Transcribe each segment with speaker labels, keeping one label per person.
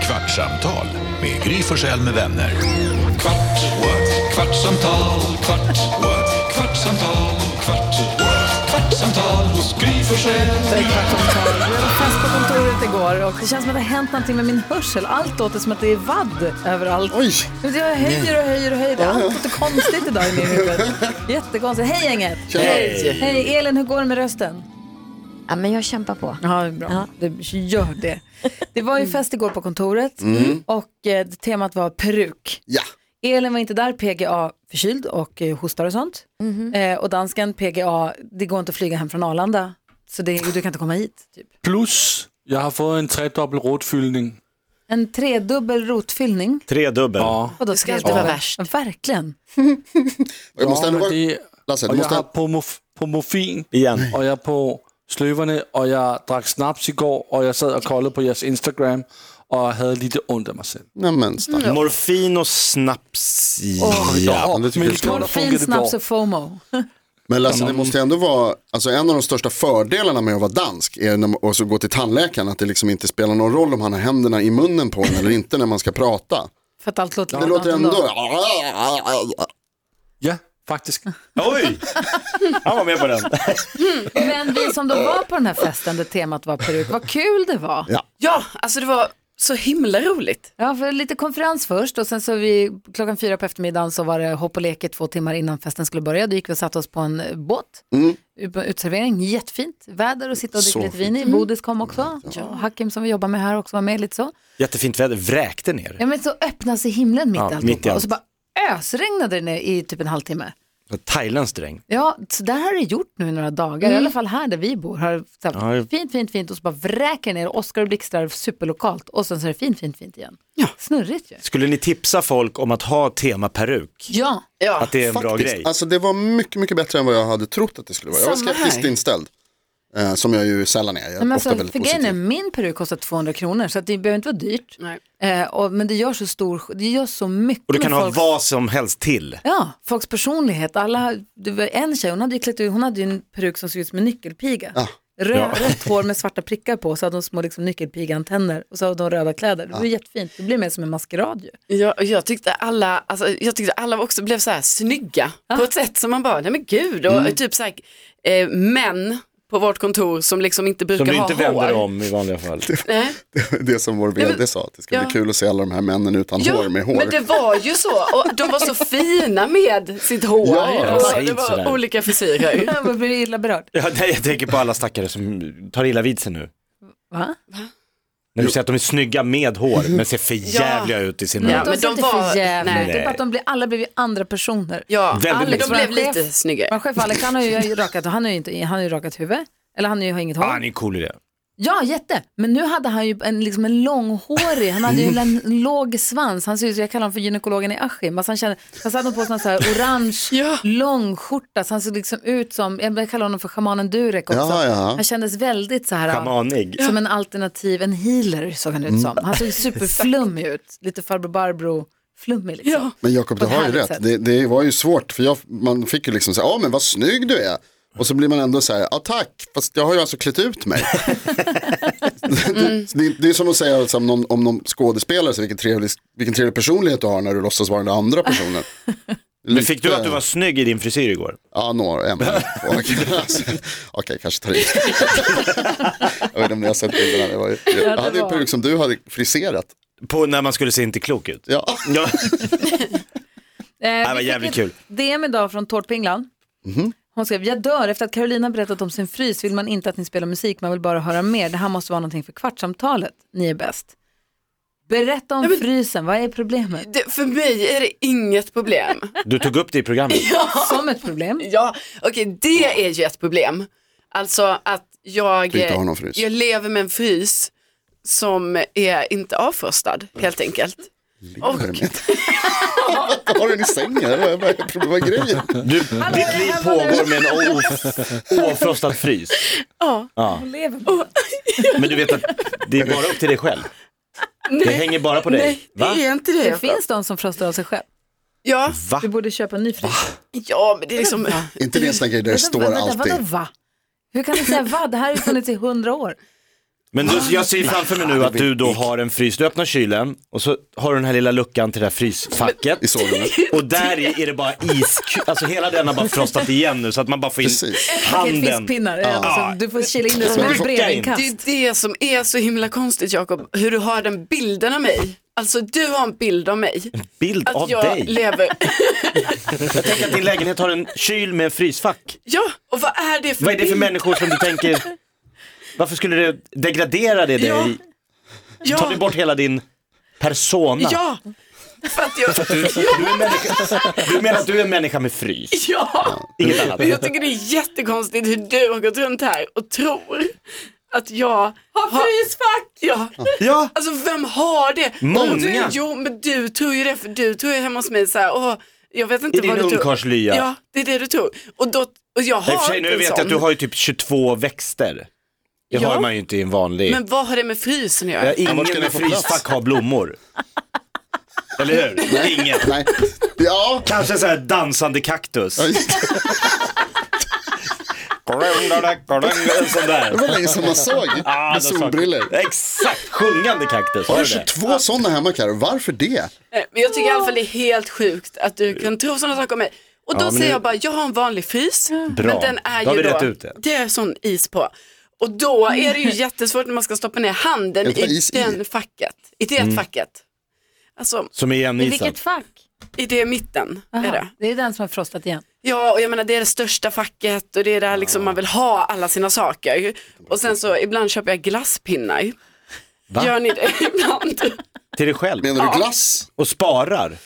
Speaker 1: Kvartsamtal med Gry Forssell med vänner. Kvart, what? kvartsamtal, kvart, what? kvartsamtal, kvart, what? kvartsamtal hos Gry Forssell.
Speaker 2: Direkt kvart över tolv. Jag var fast på kontoret igår och det känns som att det har hänt någonting med min hörsel. Allt låter som att det är vadd överallt.
Speaker 3: Oj!
Speaker 2: Men Jag höjer och höjer och höjer. Allt låter konstigt idag i min huvud. Jättekonstigt. Hej gänget!
Speaker 3: Tjena. Hej.
Speaker 2: Hej Elin, hur går det med rösten?
Speaker 4: Ja, men jag kämpar på. Mm.
Speaker 2: Ja, bra. Det gör det. Det var ju fest igår på kontoret
Speaker 3: Mm.
Speaker 2: och eh, temat var peruk.
Speaker 3: Ja,
Speaker 2: Elin var inte där, PGA förkyld och eh, hostar och sånt.
Speaker 4: Mhm.
Speaker 2: Eh, och dansken, PGA, det går inte att flyga hem från Arlanda. Så det, du kan inte komma hit. Typ.
Speaker 5: Plus, jag har fått en tredubbel rotfyllning.
Speaker 2: En tredubbel rotfyllning.
Speaker 6: Tredubbel.
Speaker 5: Ja.
Speaker 2: Vadå, det
Speaker 4: ska alltid vara värst.
Speaker 2: Verkligen.
Speaker 3: jag måste ändå
Speaker 5: men
Speaker 3: vara...
Speaker 5: det,
Speaker 3: Lasse, du
Speaker 5: och jag
Speaker 3: måste...
Speaker 5: har på, mof, på morfin
Speaker 6: Igen.
Speaker 5: och jag är på slövarna och jag drack snaps igår och jag satt och kollade på deras Instagram och hade lite ont av mig själv.
Speaker 3: Nej men
Speaker 6: Mm.
Speaker 3: stack.
Speaker 6: Morfin och snaps.
Speaker 3: Ja,
Speaker 6: Ja.
Speaker 3: men det tycker jag ska...
Speaker 2: Morfin, snaps och FOMO.
Speaker 3: Men Lasse, det måste ändå vara, alltså en av de största fördelarna med att vara dansk är när man, och så gå till tandläkaren, att det liksom inte spelar någon roll om han har händerna i munnen på en eller inte när man ska prata.
Speaker 2: För att allt låter
Speaker 3: Det låter ändå,
Speaker 5: Ja, faktiskt.
Speaker 6: Oj! Han var med på den.
Speaker 2: Men vi som då var på den här festen där temat var peruk, vad kul det var.
Speaker 3: Ja.
Speaker 7: Ja, alltså det var så himla roligt.
Speaker 2: Ja, för lite konferens först och sen så vi, klockan fyra på eftermiddagen så var det hopp och lek i två timmar innan festen skulle börja. Då gick vi och satte oss på en eh, båt, ut på en utservering, jättefint väder och sitta och dricka
Speaker 3: Mm. Så Mm.
Speaker 2: lite vin i. Bodis kom också, och Hakim som vi jobbar med här också var med lite så.
Speaker 6: Jättefint väder, vräkte ner.
Speaker 2: Ja men så öppnade sig himlen mitt, i alltihopa.
Speaker 6: mitt i allt.
Speaker 2: och så bara ösregnade det ner i typ en halvtimme.
Speaker 6: Thailändsk dräng.
Speaker 2: Ja, så där har det gjort nu i några dagar, i alla fall här där vi bor. Har det så här,
Speaker 6: Mm. Ja, det-
Speaker 2: Fint, fint, fint och så bara vräker det ner, Oskar och blixtrar superlokalt och sen så är det fint, fint, fint igen.
Speaker 7: Ja.
Speaker 2: Snurrigt ju.
Speaker 6: Skulle ni tipsa folk om att ha tema peruk?
Speaker 2: Ja,
Speaker 7: Ja,
Speaker 6: Att det är en bra
Speaker 3: faktiskt.
Speaker 6: grej?
Speaker 3: Alltså det var mycket, mycket bättre än vad jag hade trott att det skulle vara. Jag var
Speaker 7: Samma
Speaker 3: skeptiskt
Speaker 7: här.
Speaker 3: inställd, eh, som jag ju sällan är. Jag är
Speaker 2: men
Speaker 3: ofta
Speaker 2: alltså,
Speaker 3: väldigt
Speaker 2: för grejen är,
Speaker 3: positiv.
Speaker 2: min peruk kostar 200 kronor så att det behöver inte vara dyrt.
Speaker 7: Nej.
Speaker 2: Eh, och, men det gör så stor, det gör så mycket
Speaker 6: Och du kan
Speaker 2: med
Speaker 6: ha
Speaker 2: folks,
Speaker 6: vad som helst till.
Speaker 2: ja, folks personlighet. Alla, det var en tjej, hon hade ju klätt ut, hon hade ju en peruk som såg ut som en nyckelpiga.
Speaker 3: Ja.
Speaker 2: Röd, Rött hår med svarta prickar på, så hade de små liksom, nyckelpigantenner och så hade de röda kläder. Det var jättefint, det blir mer som en maskerad ju.
Speaker 7: jag, och jag tyckte alla, alltså, jag tyckte alla också blev så här snygga på ett sätt som man bara, nej men gud, och
Speaker 6: Mm.
Speaker 7: typ så här, eh, män på vårt kontor som liksom inte brukar
Speaker 6: Som du inte
Speaker 7: ha
Speaker 6: vänder dig
Speaker 7: hår.
Speaker 6: om i vanliga fall.
Speaker 7: Nej.
Speaker 3: Det som vår
Speaker 7: men-
Speaker 3: vd sa, att det skulle
Speaker 7: Ja.
Speaker 3: bli kul att se alla de här männen utan hår med hår.
Speaker 7: men det var ju så, och de var så fina med sitt hår.
Speaker 3: Ja,
Speaker 7: och det
Speaker 6: säg inte
Speaker 7: var
Speaker 6: sådär.
Speaker 7: olika frisyrer.
Speaker 2: Jag blir illa berörd.
Speaker 6: Ja, nej, jag tänker på alla stackare som tar illa vid sig nu.
Speaker 2: Va?
Speaker 6: När du säger att de är snygga med hår, men ser för jävliga ut i sina...
Speaker 7: Ja,
Speaker 2: de
Speaker 7: men
Speaker 2: ser
Speaker 7: de
Speaker 2: inte
Speaker 7: var-
Speaker 2: för jävligt
Speaker 7: nej.
Speaker 2: ut, det är bara att de blir, alla blev ju andra personer.
Speaker 7: Ja,
Speaker 6: Väldigt
Speaker 7: Alex,
Speaker 6: mycket.
Speaker 7: de blev
Speaker 2: Chef.
Speaker 7: lite
Speaker 2: Vår
Speaker 7: snyggare.
Speaker 2: chef Alex, han har ju rakat, han har ju, inte, han har ju rakat huvud, eller han har ju har inget hår.
Speaker 6: Ah, han är cool i det.
Speaker 2: Ja, jätte. Men nu hade han ju en, liksom en långhårig, han hade ju en låg svans. Han ser ut som, jag kallar honom för gynekologen i Askim. Alltså han kände, han satt på sig en sån här orange
Speaker 7: Ja.
Speaker 2: långskjorta. Så han såg liksom ut som, jag kallar honom för shamanen Durek också.
Speaker 3: Ja, ja.
Speaker 2: Han kändes väldigt så här,
Speaker 6: Schamanig.
Speaker 2: som en alternativ, en healer såg han ut som.
Speaker 3: Mm.
Speaker 2: Han såg superflummig ut, lite farbror Barbro flummig liksom.
Speaker 7: Ja.
Speaker 3: Men Jakob,
Speaker 2: På
Speaker 3: du
Speaker 2: ett
Speaker 3: har ju
Speaker 2: härligt
Speaker 3: rätt.
Speaker 2: sätt.
Speaker 3: Det, det var ju svårt, för jag, man fick ju liksom säga, ja men vad snygg du är. Och så blir man ändå så här, ja tack, fast jag har ju alltså klätt ut mig.
Speaker 2: Mm.
Speaker 3: det, det, det är som att säga alltså, om, någon, om någon skådespelare, så vilken, trevlig, vilken trevlig personlighet du har när du låtsas vara den andra personen.
Speaker 6: Men fick du att du var snygg i din frisyr igår?
Speaker 3: Ja, några, en, två. Alltså, Okej, kanske tre. jag vet inte om ni har sett bilderna. Det var ju, jag hade ju en
Speaker 2: var.
Speaker 3: peruk som du hade friserat.
Speaker 6: På när man skulle se inte klok ut?
Speaker 3: Ja.
Speaker 6: Ja.
Speaker 2: Eh, vi
Speaker 6: var
Speaker 2: fick
Speaker 6: Äh, jävligt
Speaker 2: ett
Speaker 6: kul. Mhm.
Speaker 2: DM idag från Tårtpinglan. Hon skrev, jag dör efter att Carolina berättat om sin frys vill man inte att ni spelar musik, man vill bara höra mer. Det här måste vara någonting för kvartssamtalet, ni är bäst. Berätta om frysen, vad är problemet?
Speaker 7: Det, för mig är det inget problem.
Speaker 6: Du tog upp det i programmet.
Speaker 2: Som ett problem.
Speaker 7: Ja, okej, det är ju ett problem. Alltså att jag,
Speaker 3: Du inte har någon frys.
Speaker 7: jag lever med en frys som är inte avfrostad helt enkelt. Och,
Speaker 3: Har du den i sängen? eller Vad är vad är grejen?
Speaker 6: Du, ditt liv pågår med en o- ofrostad frys.
Speaker 7: ja,
Speaker 6: Men du vet att det är bara upp till dig själv. Det hänger bara på dig.
Speaker 7: nej, det
Speaker 6: Va?
Speaker 7: är inte det.
Speaker 2: Det finns de som frostar av sig själv.
Speaker 7: Ja,
Speaker 6: Va?
Speaker 2: Du borde köpa en ny frys.
Speaker 6: Ah,
Speaker 7: ja, men det är liksom,
Speaker 3: inte det en sån där grej där det står
Speaker 2: Vänta,
Speaker 3: alltid.
Speaker 2: Vadå, va? Hur kan du säga va? Det här har ju funnits i hundra år.
Speaker 6: Men du, jag ser framför mig nu att du då har en frys, du öppnar kylen och så har du den här lilla luckan till det här frysfacket.
Speaker 3: I sovrummet.
Speaker 6: Och där i är det bara is, alltså hela den har bara frostat igen nu så att man bara får in
Speaker 3: Precis.
Speaker 2: Paket
Speaker 6: handen. Ah.
Speaker 2: fiskpinnar. Alltså, du får kila in det som en
Speaker 6: Rycka in.
Speaker 2: brevinkast.
Speaker 7: Det är det som är så himla konstigt Jakob, hur du har den bilden av mig. Alltså du har en bild av mig.
Speaker 6: Bild
Speaker 7: Att
Speaker 6: av
Speaker 7: jag
Speaker 6: dig.
Speaker 7: lever,
Speaker 6: jag tänker att din lägenhet har en kyl med frysfack.
Speaker 7: ja och vad är det för
Speaker 6: Vad är det för
Speaker 7: bild?
Speaker 6: människor som du tänker, varför skulle det degradera det dig?
Speaker 7: Ja.
Speaker 6: Tar
Speaker 7: Ja,
Speaker 6: du bort hela din persona?
Speaker 7: ja. För att jag,
Speaker 6: Du, du, är människa, du menar att du är en människa med frys?
Speaker 7: ja.
Speaker 6: Inget annat?
Speaker 7: Och Jag tycker det är jättekonstigt hur du har gått runt här och tror att jag har frysfack. Ja.
Speaker 6: Ja.
Speaker 7: Alltså vem har det?
Speaker 6: Många.
Speaker 7: Och Du, jo men du tror ju det för du tror ju hemma hos mig så här, åh, jag vet inte
Speaker 6: I din
Speaker 7: vad du tror.
Speaker 6: ungkarlslya?
Speaker 7: Ja, det är det du tror. Och, då, och jag har
Speaker 6: I och för sig,
Speaker 7: inte
Speaker 6: nu
Speaker 7: en
Speaker 6: vet jag
Speaker 7: sån.
Speaker 6: att du har ju typ 22 växter. Det
Speaker 7: Ja.
Speaker 6: har man ju inte i en vanlig.
Speaker 7: Men vad har det med frysen att göra?
Speaker 6: Ja, ingen
Speaker 3: var ska den
Speaker 6: med
Speaker 3: få plats?
Speaker 6: frysfack har blommor. Eller hur? Ingen.
Speaker 3: Nej. Ja.
Speaker 6: Kanske så här dansande kaktus.
Speaker 3: Ja, just det.
Speaker 6: en sån
Speaker 3: det
Speaker 6: där.
Speaker 3: var länge sedan man såg
Speaker 6: Ah,
Speaker 3: med
Speaker 6: då sa-
Speaker 3: solbrillor.
Speaker 6: Exakt, sjungande kaktus.
Speaker 3: Jag
Speaker 6: Har
Speaker 3: har
Speaker 6: du det?
Speaker 3: 22 sådana hemma Carro, varför det?
Speaker 7: Nej, Eh, Men jag tycker i alla fall det är helt sjukt att du kan tro sådana saker om mig. Och då
Speaker 6: men
Speaker 7: säger
Speaker 6: nu-
Speaker 7: jag bara, jag har en vanlig frys,
Speaker 6: Bra.
Speaker 7: men den är
Speaker 6: Då har
Speaker 7: ju
Speaker 6: vi
Speaker 7: då,
Speaker 6: rätt ut det.
Speaker 7: det är sån is på. Och då är det ju jättesvårt när man ska stoppa ner handen
Speaker 3: Vet du vad
Speaker 7: i
Speaker 3: is i?
Speaker 7: den facket, i det
Speaker 6: Mm.
Speaker 7: facket. Alltså,
Speaker 6: Som är
Speaker 4: I
Speaker 6: igenisad.
Speaker 4: vilket fack?
Speaker 7: i det mitten är det.
Speaker 2: Aha, det är den som har frostat igen.
Speaker 7: Ja, och jag menar det är det största facket och det är där liksom man vill ha alla sina saker. Och sen så ibland köper jag glasspinnar.
Speaker 6: Va?
Speaker 7: Gör ni det ibland?
Speaker 6: Till dig själv.
Speaker 3: Menar du glass?
Speaker 6: Och sparar.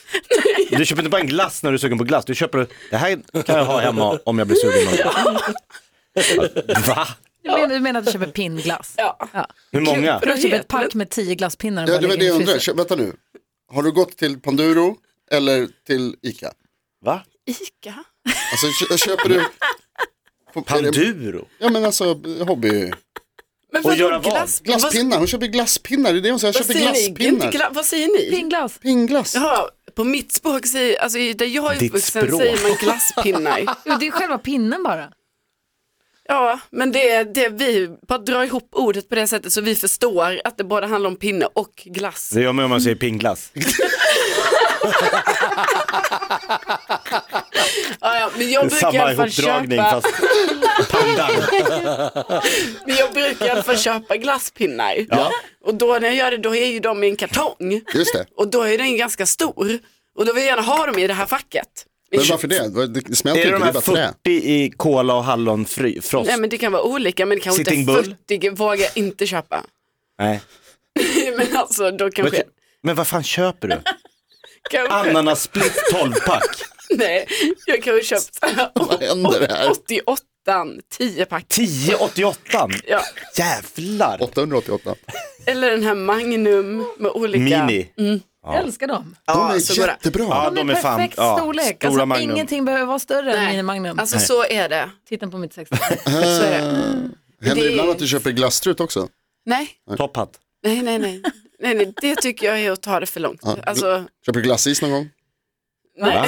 Speaker 6: Du köper inte bara en glass när du är sugen på glass. Du köper, det här kan jag ha hemma om jag blir sugen någon gång. Va?
Speaker 2: Du menar, du menar att du köper pinnglass?
Speaker 7: Ja.
Speaker 6: Hur många?
Speaker 2: Du har köpt typ ett pack med tio glasspinnar och
Speaker 3: Ja,
Speaker 2: bara
Speaker 3: det var
Speaker 2: lägger
Speaker 3: det jag
Speaker 2: i
Speaker 3: undrade.
Speaker 2: frysen.
Speaker 3: Kö- Vänta nu. Har du gått till Panduro eller till Ica?
Speaker 6: Va?
Speaker 7: Ica?
Speaker 3: Alltså kö- köper du...
Speaker 6: Panduro?
Speaker 3: Ja men alltså hobby...
Speaker 7: Men
Speaker 6: Och
Speaker 7: vadå
Speaker 6: göra vad?
Speaker 7: glasspinnar? Vad-
Speaker 3: Glasspinnar, hon köper glasspinnar. Det är det hon säger, jag
Speaker 7: Vad säger
Speaker 3: köper
Speaker 7: ni? Inte
Speaker 3: glasspinnar.
Speaker 7: gla- vad säger ni?
Speaker 2: Pingglass.
Speaker 3: Pingglass.
Speaker 7: Jaha, på mitt språk säger, alltså i- där jag är
Speaker 6: Ditt
Speaker 7: uppvuxen
Speaker 6: språk.
Speaker 7: säger man glasspinnar.
Speaker 2: Jo, det är själva pinnen bara.
Speaker 7: ja, men det är det vi, bara drar ihop ordet på det sättet så vi förstår att det både handlar om pinne och glass.
Speaker 6: Det gör man om man säger pingglass.
Speaker 7: Ja, ja, men jag brukar i
Speaker 6: Samma
Speaker 7: alla fall
Speaker 6: ihopdragning
Speaker 7: köpa,
Speaker 6: fast pandan.
Speaker 7: men jag brukar i alla fall köpa glasspinnar. Och då när jag gör det, då är ju de i en kartong.
Speaker 3: Just det.
Speaker 7: Och då är den ganska stor. Och då vill jag gärna ha dem i det här facket.
Speaker 3: Men varför det? Det smälter
Speaker 6: Är det
Speaker 3: inte,
Speaker 6: de
Speaker 3: det är
Speaker 6: här
Speaker 3: bara trä.
Speaker 6: 40 i kola och hallonfrost?
Speaker 7: Nej men det kan vara olika, men det kanske
Speaker 6: Sitting
Speaker 7: inte
Speaker 6: Bull?
Speaker 7: 40 vågar jag inte köpa.
Speaker 6: Nej.
Speaker 7: men alltså då
Speaker 6: Men,
Speaker 7: kanske,
Speaker 6: men vad fan köper du?
Speaker 7: kanske
Speaker 6: Ananassplitt 12-pack.
Speaker 7: nej, jag kanske köpt
Speaker 3: Vad händer här?
Speaker 7: 88 10 pack.
Speaker 6: 1088.
Speaker 7: Ja.
Speaker 6: Jävlar.
Speaker 3: 888.
Speaker 7: Eller den här Magnum med olika.
Speaker 6: Mini.
Speaker 2: Jag älskar dem.
Speaker 3: De
Speaker 7: så
Speaker 3: är
Speaker 7: går det.
Speaker 6: Ja,
Speaker 3: jättebra.
Speaker 6: de är fan.
Speaker 2: perfekt
Speaker 6: Ja,
Speaker 2: storlek.
Speaker 6: stora
Speaker 2: Alltså,
Speaker 6: Magnum.
Speaker 2: Ingenting behöver vara större än
Speaker 7: Nej,
Speaker 2: min Magnum.
Speaker 7: alltså så är det.
Speaker 2: Titta på mitt 60.
Speaker 7: Så är
Speaker 6: Mm.
Speaker 7: det.
Speaker 3: Händer
Speaker 7: det
Speaker 3: det
Speaker 7: är-
Speaker 3: ibland att du köper glasstrut också?
Speaker 7: Nej,
Speaker 6: Top hat.
Speaker 7: nej, nej, nej. nej, nej det tycker jag är att ta det för långt.
Speaker 3: Ja.
Speaker 7: Alltså,
Speaker 3: Köper du glassis någon gång?
Speaker 6: Va?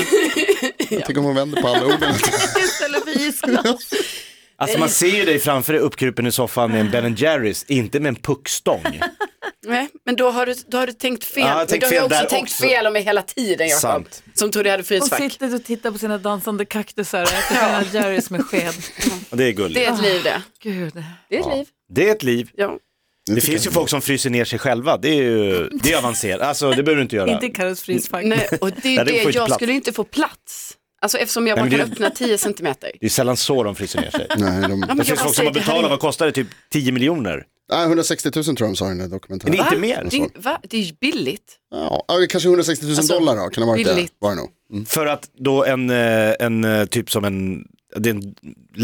Speaker 3: Jag tycker hon vänder på alla orden.
Speaker 2: Istället för isglass.
Speaker 6: Alltså man ser ju dig framför dig uppkrupen i soffan med en Ben Jerrys, inte med en puckstång.
Speaker 7: nej, men då har, du, då har du tänkt fel.
Speaker 6: Ja, jag har
Speaker 7: Men
Speaker 6: tänkt
Speaker 7: då har
Speaker 6: fel
Speaker 7: jag också
Speaker 6: där
Speaker 7: tänkt
Speaker 6: också.
Speaker 7: fel om mig hela tiden, Jakob.
Speaker 6: Sant.
Speaker 7: Som trodde jag hade
Speaker 2: Hon
Speaker 7: frysfack.
Speaker 2: sitter och tittar på sina dansande kaktusar och äter sina Jerrys med sked.
Speaker 6: Och Det är
Speaker 7: Det
Speaker 6: gulligt.
Speaker 2: Ah.
Speaker 7: är ett liv det.
Speaker 2: Gud.
Speaker 7: Det är ett liv.
Speaker 6: Det är ett liv.
Speaker 7: Ja.
Speaker 6: Det finns ju folk som fryser ner sig själva. Det är ju det är avancerat. Alltså det behöver du inte göra.
Speaker 2: Inte i Carros frysfack.
Speaker 7: Nej, och det är
Speaker 6: Ja,
Speaker 7: ju
Speaker 6: det
Speaker 7: det,
Speaker 6: får inte
Speaker 7: jag
Speaker 6: plats.
Speaker 7: skulle inte få plats. Alltså eftersom jag
Speaker 6: Nej,
Speaker 7: bara
Speaker 6: men
Speaker 7: kan
Speaker 6: det-
Speaker 7: öppna 10 centimeter.
Speaker 6: Det är sällan så de fryser ner sig.
Speaker 3: Nej, de...
Speaker 7: Ja, men
Speaker 6: Det
Speaker 7: jag
Speaker 6: finns
Speaker 7: bara
Speaker 6: folk som
Speaker 7: säger,
Speaker 6: har
Speaker 7: det här är-
Speaker 6: betalat, vad kostar det? Typ 10 miljoner?
Speaker 3: Nej, 160 000 tror jag de sa i den där
Speaker 6: Är
Speaker 3: dokumentären.
Speaker 6: det inte
Speaker 7: Va?
Speaker 6: mer?
Speaker 7: Det är, va? Det är ju billigt.
Speaker 3: Ja, ja, kanske 160 000
Speaker 7: Alltså,
Speaker 3: dollar då, kan det ha varit
Speaker 7: billigt.
Speaker 3: det? Var det nog.
Speaker 7: Mm.
Speaker 6: För att då en, eh, en eh, typ som en, det är en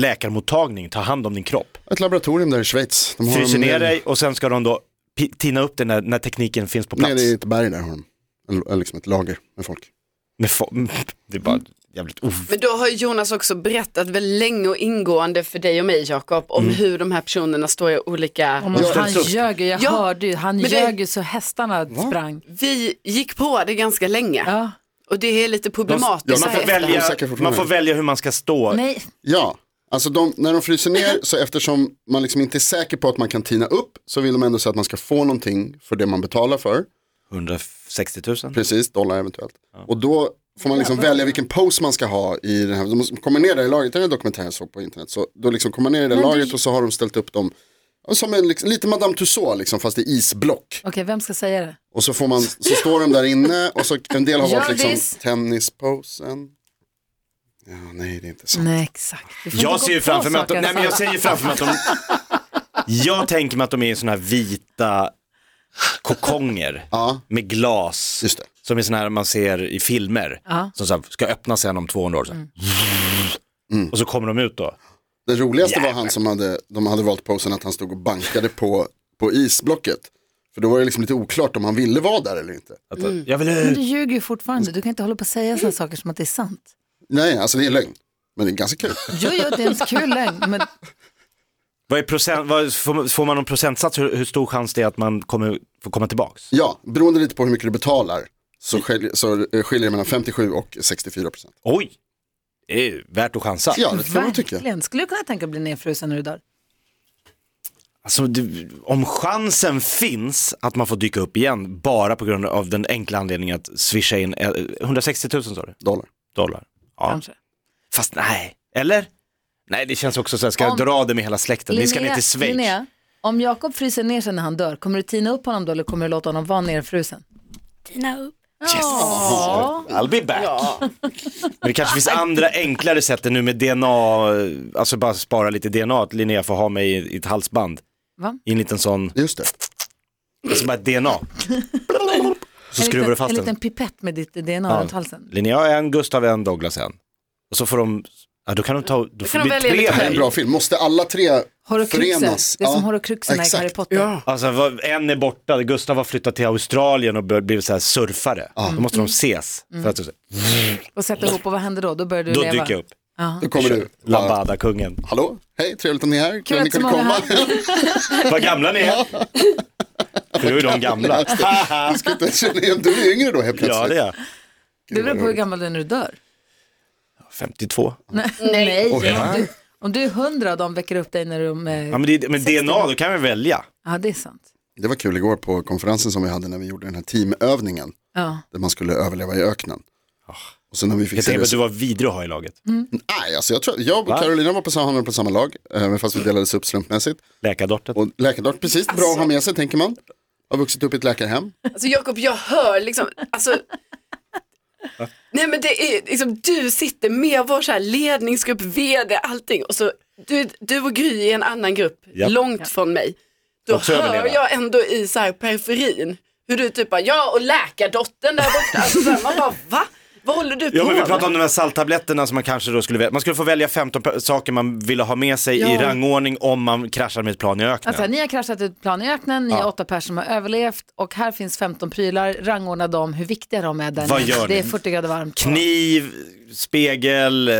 Speaker 6: läkarmottagning tar hand om din kropp.
Speaker 3: Ett laboratorium där i Schweiz. De har
Speaker 6: Fryser
Speaker 3: dem
Speaker 6: ner
Speaker 3: nere-
Speaker 6: dig och sen ska de då pi- tina upp den när, när tekniken finns på plats.
Speaker 3: Nere i ett berg där har de. En- en- Liksom ett lager med folk.
Speaker 6: Med fo- det är bara jävligt ov...
Speaker 7: Men då har Jonas också berättat väldigt länge och ingående för dig och mig Jakob om hur de här personerna står i olika...
Speaker 2: Om han
Speaker 6: ställs upp.
Speaker 2: ljög ju, jag
Speaker 7: Ja,
Speaker 2: hörde ju, han
Speaker 7: men det-
Speaker 2: ljög ju så hästarna sprang.
Speaker 7: Vi gick på det ganska länge
Speaker 2: Ja.
Speaker 7: och det är lite problematiskt.
Speaker 3: Ja,
Speaker 7: så
Speaker 6: Man
Speaker 7: här
Speaker 6: får,
Speaker 7: efterhand.
Speaker 6: välja,
Speaker 3: säkert fortfarande.
Speaker 6: man får välja hur man ska stå.
Speaker 2: Nej,
Speaker 3: Ja, Alltså de, när de fryser ner, så eftersom man liksom inte är säker på att man kan tina upp, så vill de ändå säga att man ska få någonting för det man betalar för.
Speaker 6: 160 000?
Speaker 3: Precis, dollar eventuellt. Och då får man liksom välja vilken pose man ska ha i den här, de måste- kommer ner där i lagret, det är en dokumentär jag såg på internet, så då liksom kommer man ner i det lagret och så har de ställt upp dem ja, som en, liksom, lite Madame Tussauds liksom, fast i isblock.
Speaker 2: Okej, vem ska säga det?
Speaker 3: Och så får man, så står de där inne och så en del har varit
Speaker 2: Hjördis.
Speaker 3: liksom tennisposen. Ja, nej det är inte så.
Speaker 2: Nej, exakt. Du får
Speaker 6: Jag
Speaker 2: inte gå
Speaker 6: ser ju
Speaker 2: på
Speaker 6: framför mig att de,
Speaker 2: saker,
Speaker 6: nej men jag
Speaker 2: Sandra.
Speaker 6: ser ju framför mig att de, jag tänker mig att de är i sådana här vita kokonger
Speaker 3: Ja,
Speaker 6: med glas.
Speaker 3: just det.
Speaker 6: Som är sådana här man ser i filmer. Som så här, ska öppna sen om 200 år. Så här.
Speaker 3: Mm.
Speaker 6: Och så kommer de ut då.
Speaker 3: Den roligaste var
Speaker 6: Jävlar.
Speaker 3: han som hade, de hade valt posen att han stod och bankade på, på isblocket. För då var det liksom lite oklart om han ville vara där eller inte.
Speaker 6: Att,
Speaker 2: Mm.
Speaker 6: Jag vill ut.
Speaker 2: Du ljuger ju fortfarande. Du kan inte hålla på och säga sådana saker som att det är sant.
Speaker 3: Nej, alltså det är lögn. Men det är ganska kul.
Speaker 2: Jo, jo, det är en kul lögn, men
Speaker 6: Vad är procent, vad, får, får man någon procentsats hur, hur stor chans det är att man kommer, får komma tillbaks?
Speaker 3: Ja, beroende lite på hur mycket du betalar så skiljer, så eh, skiljer det mellan 57 och 64 procent.
Speaker 6: Oj, det är värt att chansa.
Speaker 3: Ja, det kan man tycka.
Speaker 2: verkligen. Skulle du kunna tänka dig att bli nedfrusen när du dör?
Speaker 6: Alltså, det, om chansen finns att man får dyka upp igen bara på grund av den enkla anledningen att swisha in eh, 160 000 sa du?
Speaker 3: Dollar.
Speaker 6: dollar. Ja.
Speaker 2: Kanske.
Speaker 6: Fast nej, eller? Nej det känns också så här, ska
Speaker 2: Om-
Speaker 6: jag dra det med hela släkten? Ni ska ner till Schweiz.
Speaker 2: Linnea, om Jakob fryser ner sig när han dör, kommer du tina upp honom då eller kommer du låta honom vara nerfrusen?
Speaker 8: Tina upp.
Speaker 6: I'll be back. Men det kanske finns andra enklare sätt än nu med DNA, eh, alltså bara spara lite DNA, att Linnea får ha mig i, i ett halsband.
Speaker 2: Va?
Speaker 6: I en liten sån,
Speaker 3: Just det.
Speaker 6: alltså bara ett DNA. Så
Speaker 2: en
Speaker 6: skruvar du
Speaker 2: liten,
Speaker 6: fast
Speaker 2: En
Speaker 6: den.
Speaker 2: liten pipett med ditt DNA runt halsen.
Speaker 6: Linnea en, Gustav en, Douglas en. Och så får de, ja då kan de ta, då får
Speaker 7: de välja
Speaker 6: det bli tre
Speaker 7: lite.
Speaker 3: Det är en
Speaker 6: mig.
Speaker 3: bra film. Måste alla tre
Speaker 2: Horrocruxen, det är
Speaker 3: förenas?
Speaker 2: som horrocruxen i
Speaker 3: exakt.
Speaker 2: Harry Potter.
Speaker 7: Ja.
Speaker 6: Alltså vad- en är borta, Gustav har flyttat till Australien och bör- blivit så här surfare. Då måste de ses. För att,
Speaker 2: Och sätta ihop och vad händer då? Då börjar du
Speaker 6: då
Speaker 2: leva.
Speaker 6: dyker jag upp.
Speaker 3: Då kommer du. Bara,
Speaker 6: Lambada-kungen.
Speaker 3: Hallå, hej, trevligt att ni är här. Kul
Speaker 2: att
Speaker 3: att ni
Speaker 2: så
Speaker 3: kunde
Speaker 2: många
Speaker 3: komma.
Speaker 2: är
Speaker 6: Vad gamla ni är. För då är de gamla.
Speaker 3: Jag ska inte känna igen- du är yngre då helt plötsligt.
Speaker 6: Ja, det är jag.
Speaker 2: Det beror på hur gammal du är när du dör.
Speaker 6: 52.
Speaker 2: Nej, om, du, om du är hundra och de väcker upp dig när du... Med...
Speaker 6: Ja, men det, men DNA, då kan vi välja.
Speaker 2: Ja, det är sant.
Speaker 3: Det var kul igår på konferensen som vi hade när vi gjorde den här teamövningen.
Speaker 2: Ja.
Speaker 3: Där man skulle överleva i öknen. Och sen när vi fick
Speaker 6: Ah. Jag
Speaker 3: se
Speaker 6: tänker på
Speaker 3: det.
Speaker 6: att du var vidrig att ha i laget.
Speaker 3: Nej, alltså jag, tror, jag och Carolina var på samma, hamnade på samma lag. eh, Fast vi delades upp slumpmässigt.
Speaker 6: Läkardottern.
Speaker 3: Och läkardart, precis, bra att ha med sig tänker man. Har vuxit upp i ett läkarhem.
Speaker 7: Alltså Jakob, jag hör liksom, alltså. Nej men det är liksom, du sitter med vår så här ledningsgrupp, vd, allting och så du, du och Gry i en annan grupp,
Speaker 6: Japp.
Speaker 7: långt från mig. Då
Speaker 6: Också
Speaker 7: hör
Speaker 6: överleva.
Speaker 7: jag ändå i så här periferin hur du typ bara, ja och läkardottern där borta, alltså, så här, man bara va? Vad håller du på
Speaker 6: Ja men vi
Speaker 7: med?
Speaker 6: pratade om de här salttabletterna som man kanske då skulle välja. Man skulle få välja 15 pe- saker man ville ha med sig i rangordning om man kraschar med ett plan i öknen.
Speaker 2: Alltså, ni har kraschat ett plan i öknen, ni är åtta personer som har överlevt och här finns 15 prylar, rangordna dem, hur viktiga de är där
Speaker 6: Vad
Speaker 2: nere.
Speaker 6: gör
Speaker 2: Det är
Speaker 6: ni?
Speaker 2: 40 grader varmt.
Speaker 6: Kniv, spegel, eh,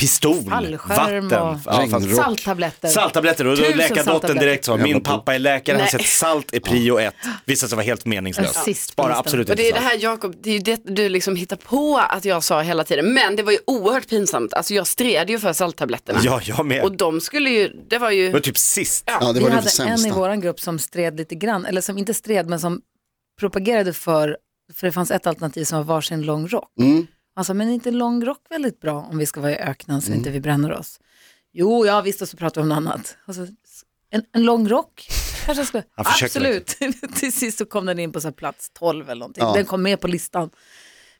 Speaker 6: pistol,
Speaker 2: Fallskärm
Speaker 6: vatten.
Speaker 2: och-
Speaker 6: Ja, fast-
Speaker 2: Salttabletter.
Speaker 6: Salttabletter och då
Speaker 2: Tusen
Speaker 6: läkardottern
Speaker 2: salttabletter.
Speaker 6: direkt sa, min pappa är läkare, han
Speaker 7: Nej.
Speaker 6: säger att salt är prio ett. Visade sig vara helt meningslöst.
Speaker 2: Rasist på
Speaker 6: Bara
Speaker 2: listan.
Speaker 6: absolut
Speaker 7: Och
Speaker 6: inte
Speaker 7: det är det
Speaker 6: salt.
Speaker 7: här Jakob, det är ju det du liksom hittar på att jag sa hela tiden. Men det var ju oerhört pinsamt, alltså jag stred ju för salttabletterna.
Speaker 6: Ja, jag med.
Speaker 7: Och de skulle ju, det var ju...
Speaker 6: Det var typ sist.
Speaker 3: Ja, det
Speaker 2: Vi
Speaker 3: var
Speaker 2: hade
Speaker 3: det sämsta.
Speaker 2: en i vår grupp som stred lite grann, eller som inte stred men som propagerade för, för det fanns ett alternativ som var varsin lång rock.
Speaker 3: Mm.
Speaker 2: Alltså, men är inte lång rock väldigt bra om vi ska vara i öknen
Speaker 3: Mm.
Speaker 2: så inte vi bränner oss? Jo, ja visst, och så pratar vi om något annat. Och så, en, en lång rock? Kanske jag ska,
Speaker 6: Han försökte
Speaker 2: absolut. Till sist så kom den in på så här plats 12 eller någonting.
Speaker 3: Ja.
Speaker 2: Den kom med på listan.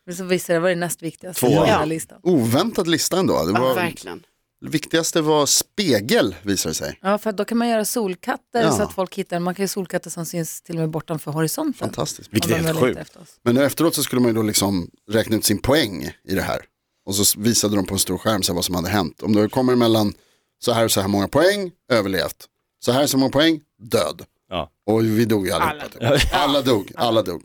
Speaker 2: Men så visade det var det näst viktigaste
Speaker 6: Tvåa.
Speaker 2: på hela
Speaker 6: Ja.
Speaker 2: listan.
Speaker 3: Oväntad lista ändå. Det
Speaker 7: Ja,
Speaker 3: var,
Speaker 7: verkligen.
Speaker 3: det viktigaste var spegel visade det sig.
Speaker 2: Ja, för då kan man göra solkatter
Speaker 3: Ja.
Speaker 2: så att folk hittar, man kan ju solkatter som syns till och med bortanför horisonten.
Speaker 3: Fantastiskt.
Speaker 6: Vilket är
Speaker 2: Om de
Speaker 6: helt
Speaker 2: letar
Speaker 6: sjukt.
Speaker 2: efter oss.
Speaker 3: Men nu efteråt så skulle man ju då liksom räkna ut sin poäng i det här. Och så visade de på en stor skärm så här vad som hade hänt. Om det kommer mellan så här och så här många poäng, överlevt. Så här och så många poäng, död.
Speaker 6: Ja.
Speaker 3: Och vi dog ju allihopa. Alla, alla dog, alla dog.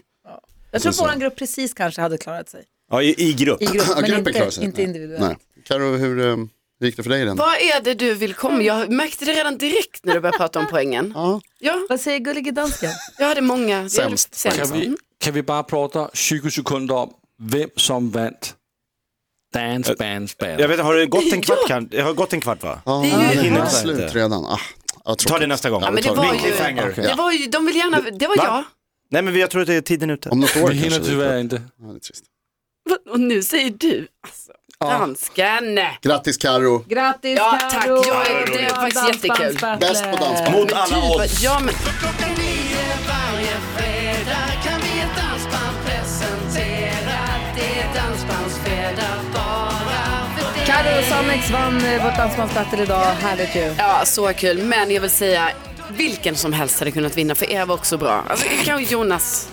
Speaker 2: Jag tror
Speaker 3: Så- så.
Speaker 2: vår grupp precis kanske hade klarat sig.
Speaker 6: Ja, i, i grupp.
Speaker 2: I grupp,
Speaker 3: Ja,
Speaker 2: men
Speaker 3: gruppen klarar
Speaker 2: inte,
Speaker 3: sig.
Speaker 2: inte
Speaker 3: Nej.
Speaker 2: individuellt.
Speaker 3: Nej. Karo, hur eh, gick det för dig i den?
Speaker 7: Vad är det du vill komma? Jag märkte det redan direkt när du började prata om poängen.
Speaker 3: Ja.
Speaker 7: Ja,
Speaker 2: Vad säger gullige dansken?
Speaker 7: jag hade många. Jag hade
Speaker 3: Sämst.
Speaker 7: sämst. Mm.
Speaker 5: Kan vi, kan vi bare prate 20 sekunder om, hvem som vandt? Dance, bands, band.
Speaker 6: Jag vet, har det gått en kvart? Kan, det har gått en kvart va?
Speaker 3: Ja,
Speaker 7: Det är ju-
Speaker 3: det
Speaker 6: Hinner
Speaker 3: är
Speaker 6: inte.
Speaker 3: slut redan. Ah, ja,
Speaker 6: Ta det
Speaker 3: tråkigt.
Speaker 6: nästa gång.
Speaker 3: Ja,
Speaker 7: men
Speaker 3: vi tar
Speaker 7: det var
Speaker 3: det.
Speaker 7: ju-
Speaker 6: Cliffhanger.
Speaker 3: Okej.
Speaker 7: Det var ju, de vill gärna, det var
Speaker 6: Va?
Speaker 7: jag.
Speaker 6: Nej men jag tror att det är tiden ute.
Speaker 3: Om något år
Speaker 5: Vi hinner
Speaker 3: kanske. det-
Speaker 5: tyvärr inte.
Speaker 3: Ja, det är trist.
Speaker 7: Va? Och nu säger du, alltså, dansken.
Speaker 3: Grattis Karo.
Speaker 2: Grattis
Speaker 7: Ja,
Speaker 2: Karo!
Speaker 7: tack. Ja, det är
Speaker 2: Bra
Speaker 7: faktiskt
Speaker 2: dansbands-
Speaker 7: jättekul.
Speaker 2: battle.
Speaker 3: Bäst på dansband.
Speaker 6: Mot alla
Speaker 7: Typ,
Speaker 6: odds.
Speaker 7: ja, men,
Speaker 2: Karo och Sonex vann eh, vårt dansbandsbattle idag. Härligt ju.
Speaker 7: ja, så kul. Men jag vill säga, vilken som helst hade kunnat vinna för er var också bra. Alltså, kanske Jonas.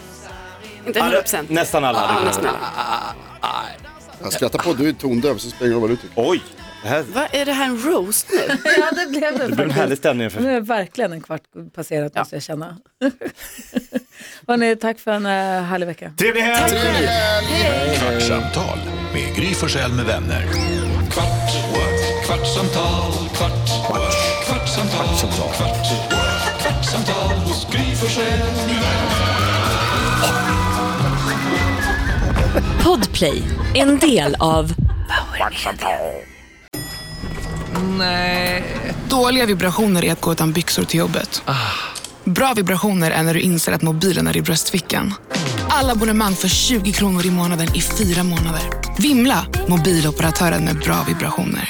Speaker 7: Inte 100 procent.
Speaker 6: Nästan alla hade
Speaker 7: Ja,
Speaker 6: kunnat
Speaker 7: nästan
Speaker 6: vinna.
Speaker 7: alla.
Speaker 3: Jag skrattar på, du är tondöv så spelar det ingen roll vad du tycker.
Speaker 6: Oj, det här
Speaker 7: Vad är det här en roast nu?
Speaker 2: Ja, det blev det
Speaker 6: det blir en
Speaker 2: faktiskt.
Speaker 6: härlig stämning.
Speaker 2: Nu
Speaker 6: För...
Speaker 2: är det verkligen en kvart passerat måste jag känna. Hörrni, tack för en eh, härlig vecka.
Speaker 6: Trevlig helg!
Speaker 1: Kvartsamtal med Gry Forssell med vänner. Kvart, what? kvartsamtal, kvart, what? kvartsamtal, kvart, what? kvartsamtal hos Gry Forssell med vänner.
Speaker 8: Podplay, en del av
Speaker 9: Dåliga vibrationer är att gå utan byxor till jobbet. Bra vibrationer är när du inser att mobilen är i bröstfickan. Alla abonnemang för 20 kronor i månaden i fyra månader. Vimla! Mobiloperatören med bra vibrationer.